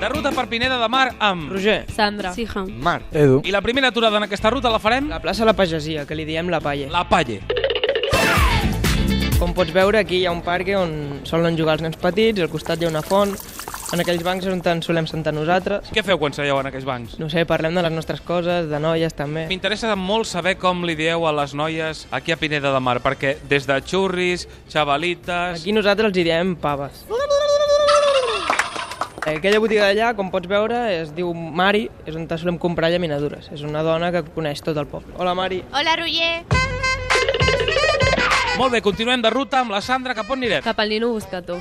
de ruta per Pineda de Mar amb... Roger, Sandra. Sija. Marc. Edu. I la primera aturada en aquesta ruta la farem... La plaça La Pagesia, que li diem La Palle. La Palle. Com pots veure, aquí hi ha un parc on solen jugar els nens petits, al costat hi ha una font, en aquells bancs on ens solem sentar nosaltres. Què feu quan seieu en aquests bancs? No sé, parlem de les nostres coses, de noies també. M'interessa molt saber com li dieu a les noies aquí a Pineda de Mar, perquè des de xurris, xavalites... Aquí nosaltres els hi diem paves. Eh, Aquella botiga d'allà, com pots veure, es diu Mari, és on solem comprar llaminadures. És una dona que coneix tot el poble. Hola, Mari. Hola, Roger. Molt bé, continuem de ruta amb la Sandra, cap on anirem? Cap al nino buscató.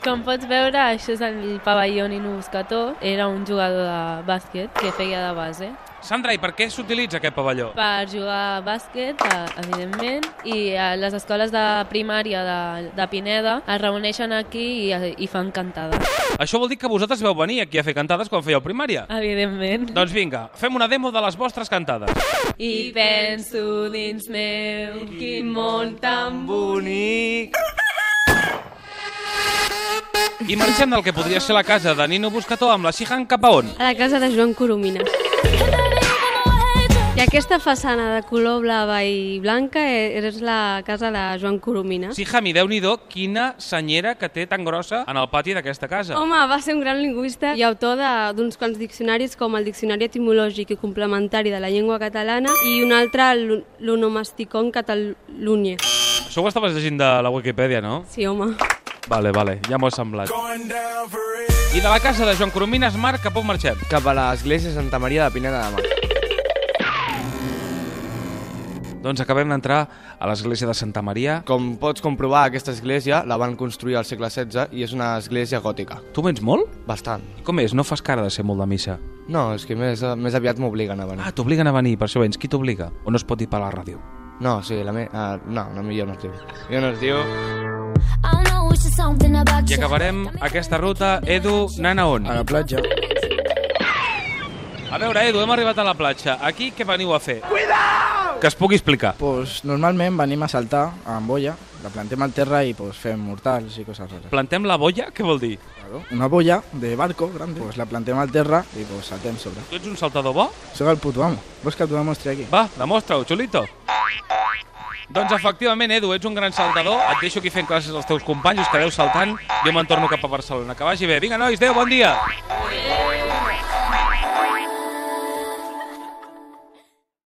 Com pots veure, això és el pavelló Nino Buscató. Era un jugador de bàsquet que feia de base. Sandra, i per què s'utilitza aquest pavelló? per jugar a bàsquet, eh, evidentment, i a les escoles de primària de, de Pineda es reuneixen aquí i, i fan cantades. Això vol dir que vosaltres veu venir aquí a fer cantades quan fèieu primària. Evidentment. Doncs vinga, fem una demo de les vostres cantades. I penso dins meu, quin món tan Bonic. I marxem del que podria ser la casa de Nino Buscató amb la Sihan cap a on? A la casa de Joan Coromines. I aquesta façana de color blava i blanca eh, és la casa de Joan Coromines. Sihami, déu nhi quina senyera que té tan grossa en el pati d'aquesta casa. Home, va ser un gran lingüista i autor de- d'uns quants diccionaris com el Diccionari Etimològic i Complementari de la Llengua Catalana i un altre, l'O- l'Onomasticon Catalunye. Això ho estaves llegint de la Wikipedia, no? Sí, home. Vale, vale, ja m'ho ha semblat. I de la casa de Joan Coromines, Marc, cap on marxem? Cap a l'església Santa Maria de Pineda de Mar. Doncs acabem d'entrar a l'església de Santa Maria. Com pots comprovar, aquesta església la van construir al segle XVI i és una església gòtica. Tu vens molt? Bastant. Com és? No fas cara de ser molt de missa. No, és que més, més aviat m'obliguen a venir. Ah, t'obliguen a venir, per això vens. Qui t'obliga? O no es pot dir per la ràdio? No, sí, la me... Ah, no, no, millor no es diu. Millor no es diu... I acabarem aquesta ruta, Edu, anant a on? A la platja. A veure, Edu, hem arribat a la platja. Aquí què veniu a fer? Cuidao! Que es pugui explicar. Pues, normalment venim a saltar amb boia, la plantem al terra i pues, fem mortals i coses rares. Plantem la boia? Què vol dir? Claro. Una boia de barco grande, pues, la plantem al terra i pues, saltem sobre. Tu ets un saltador bo? Soc el puto amo. Vols que t'ho demostri aquí? Va, demostra-ho, xulito. Doncs efectivament, Edu, ets un gran saltador. Et deixo aquí fent classes als teus companys, us quedeu saltant. Jo me'n torno cap a Barcelona. Que vagi bé. Vinga, nois, adeu, bon dia.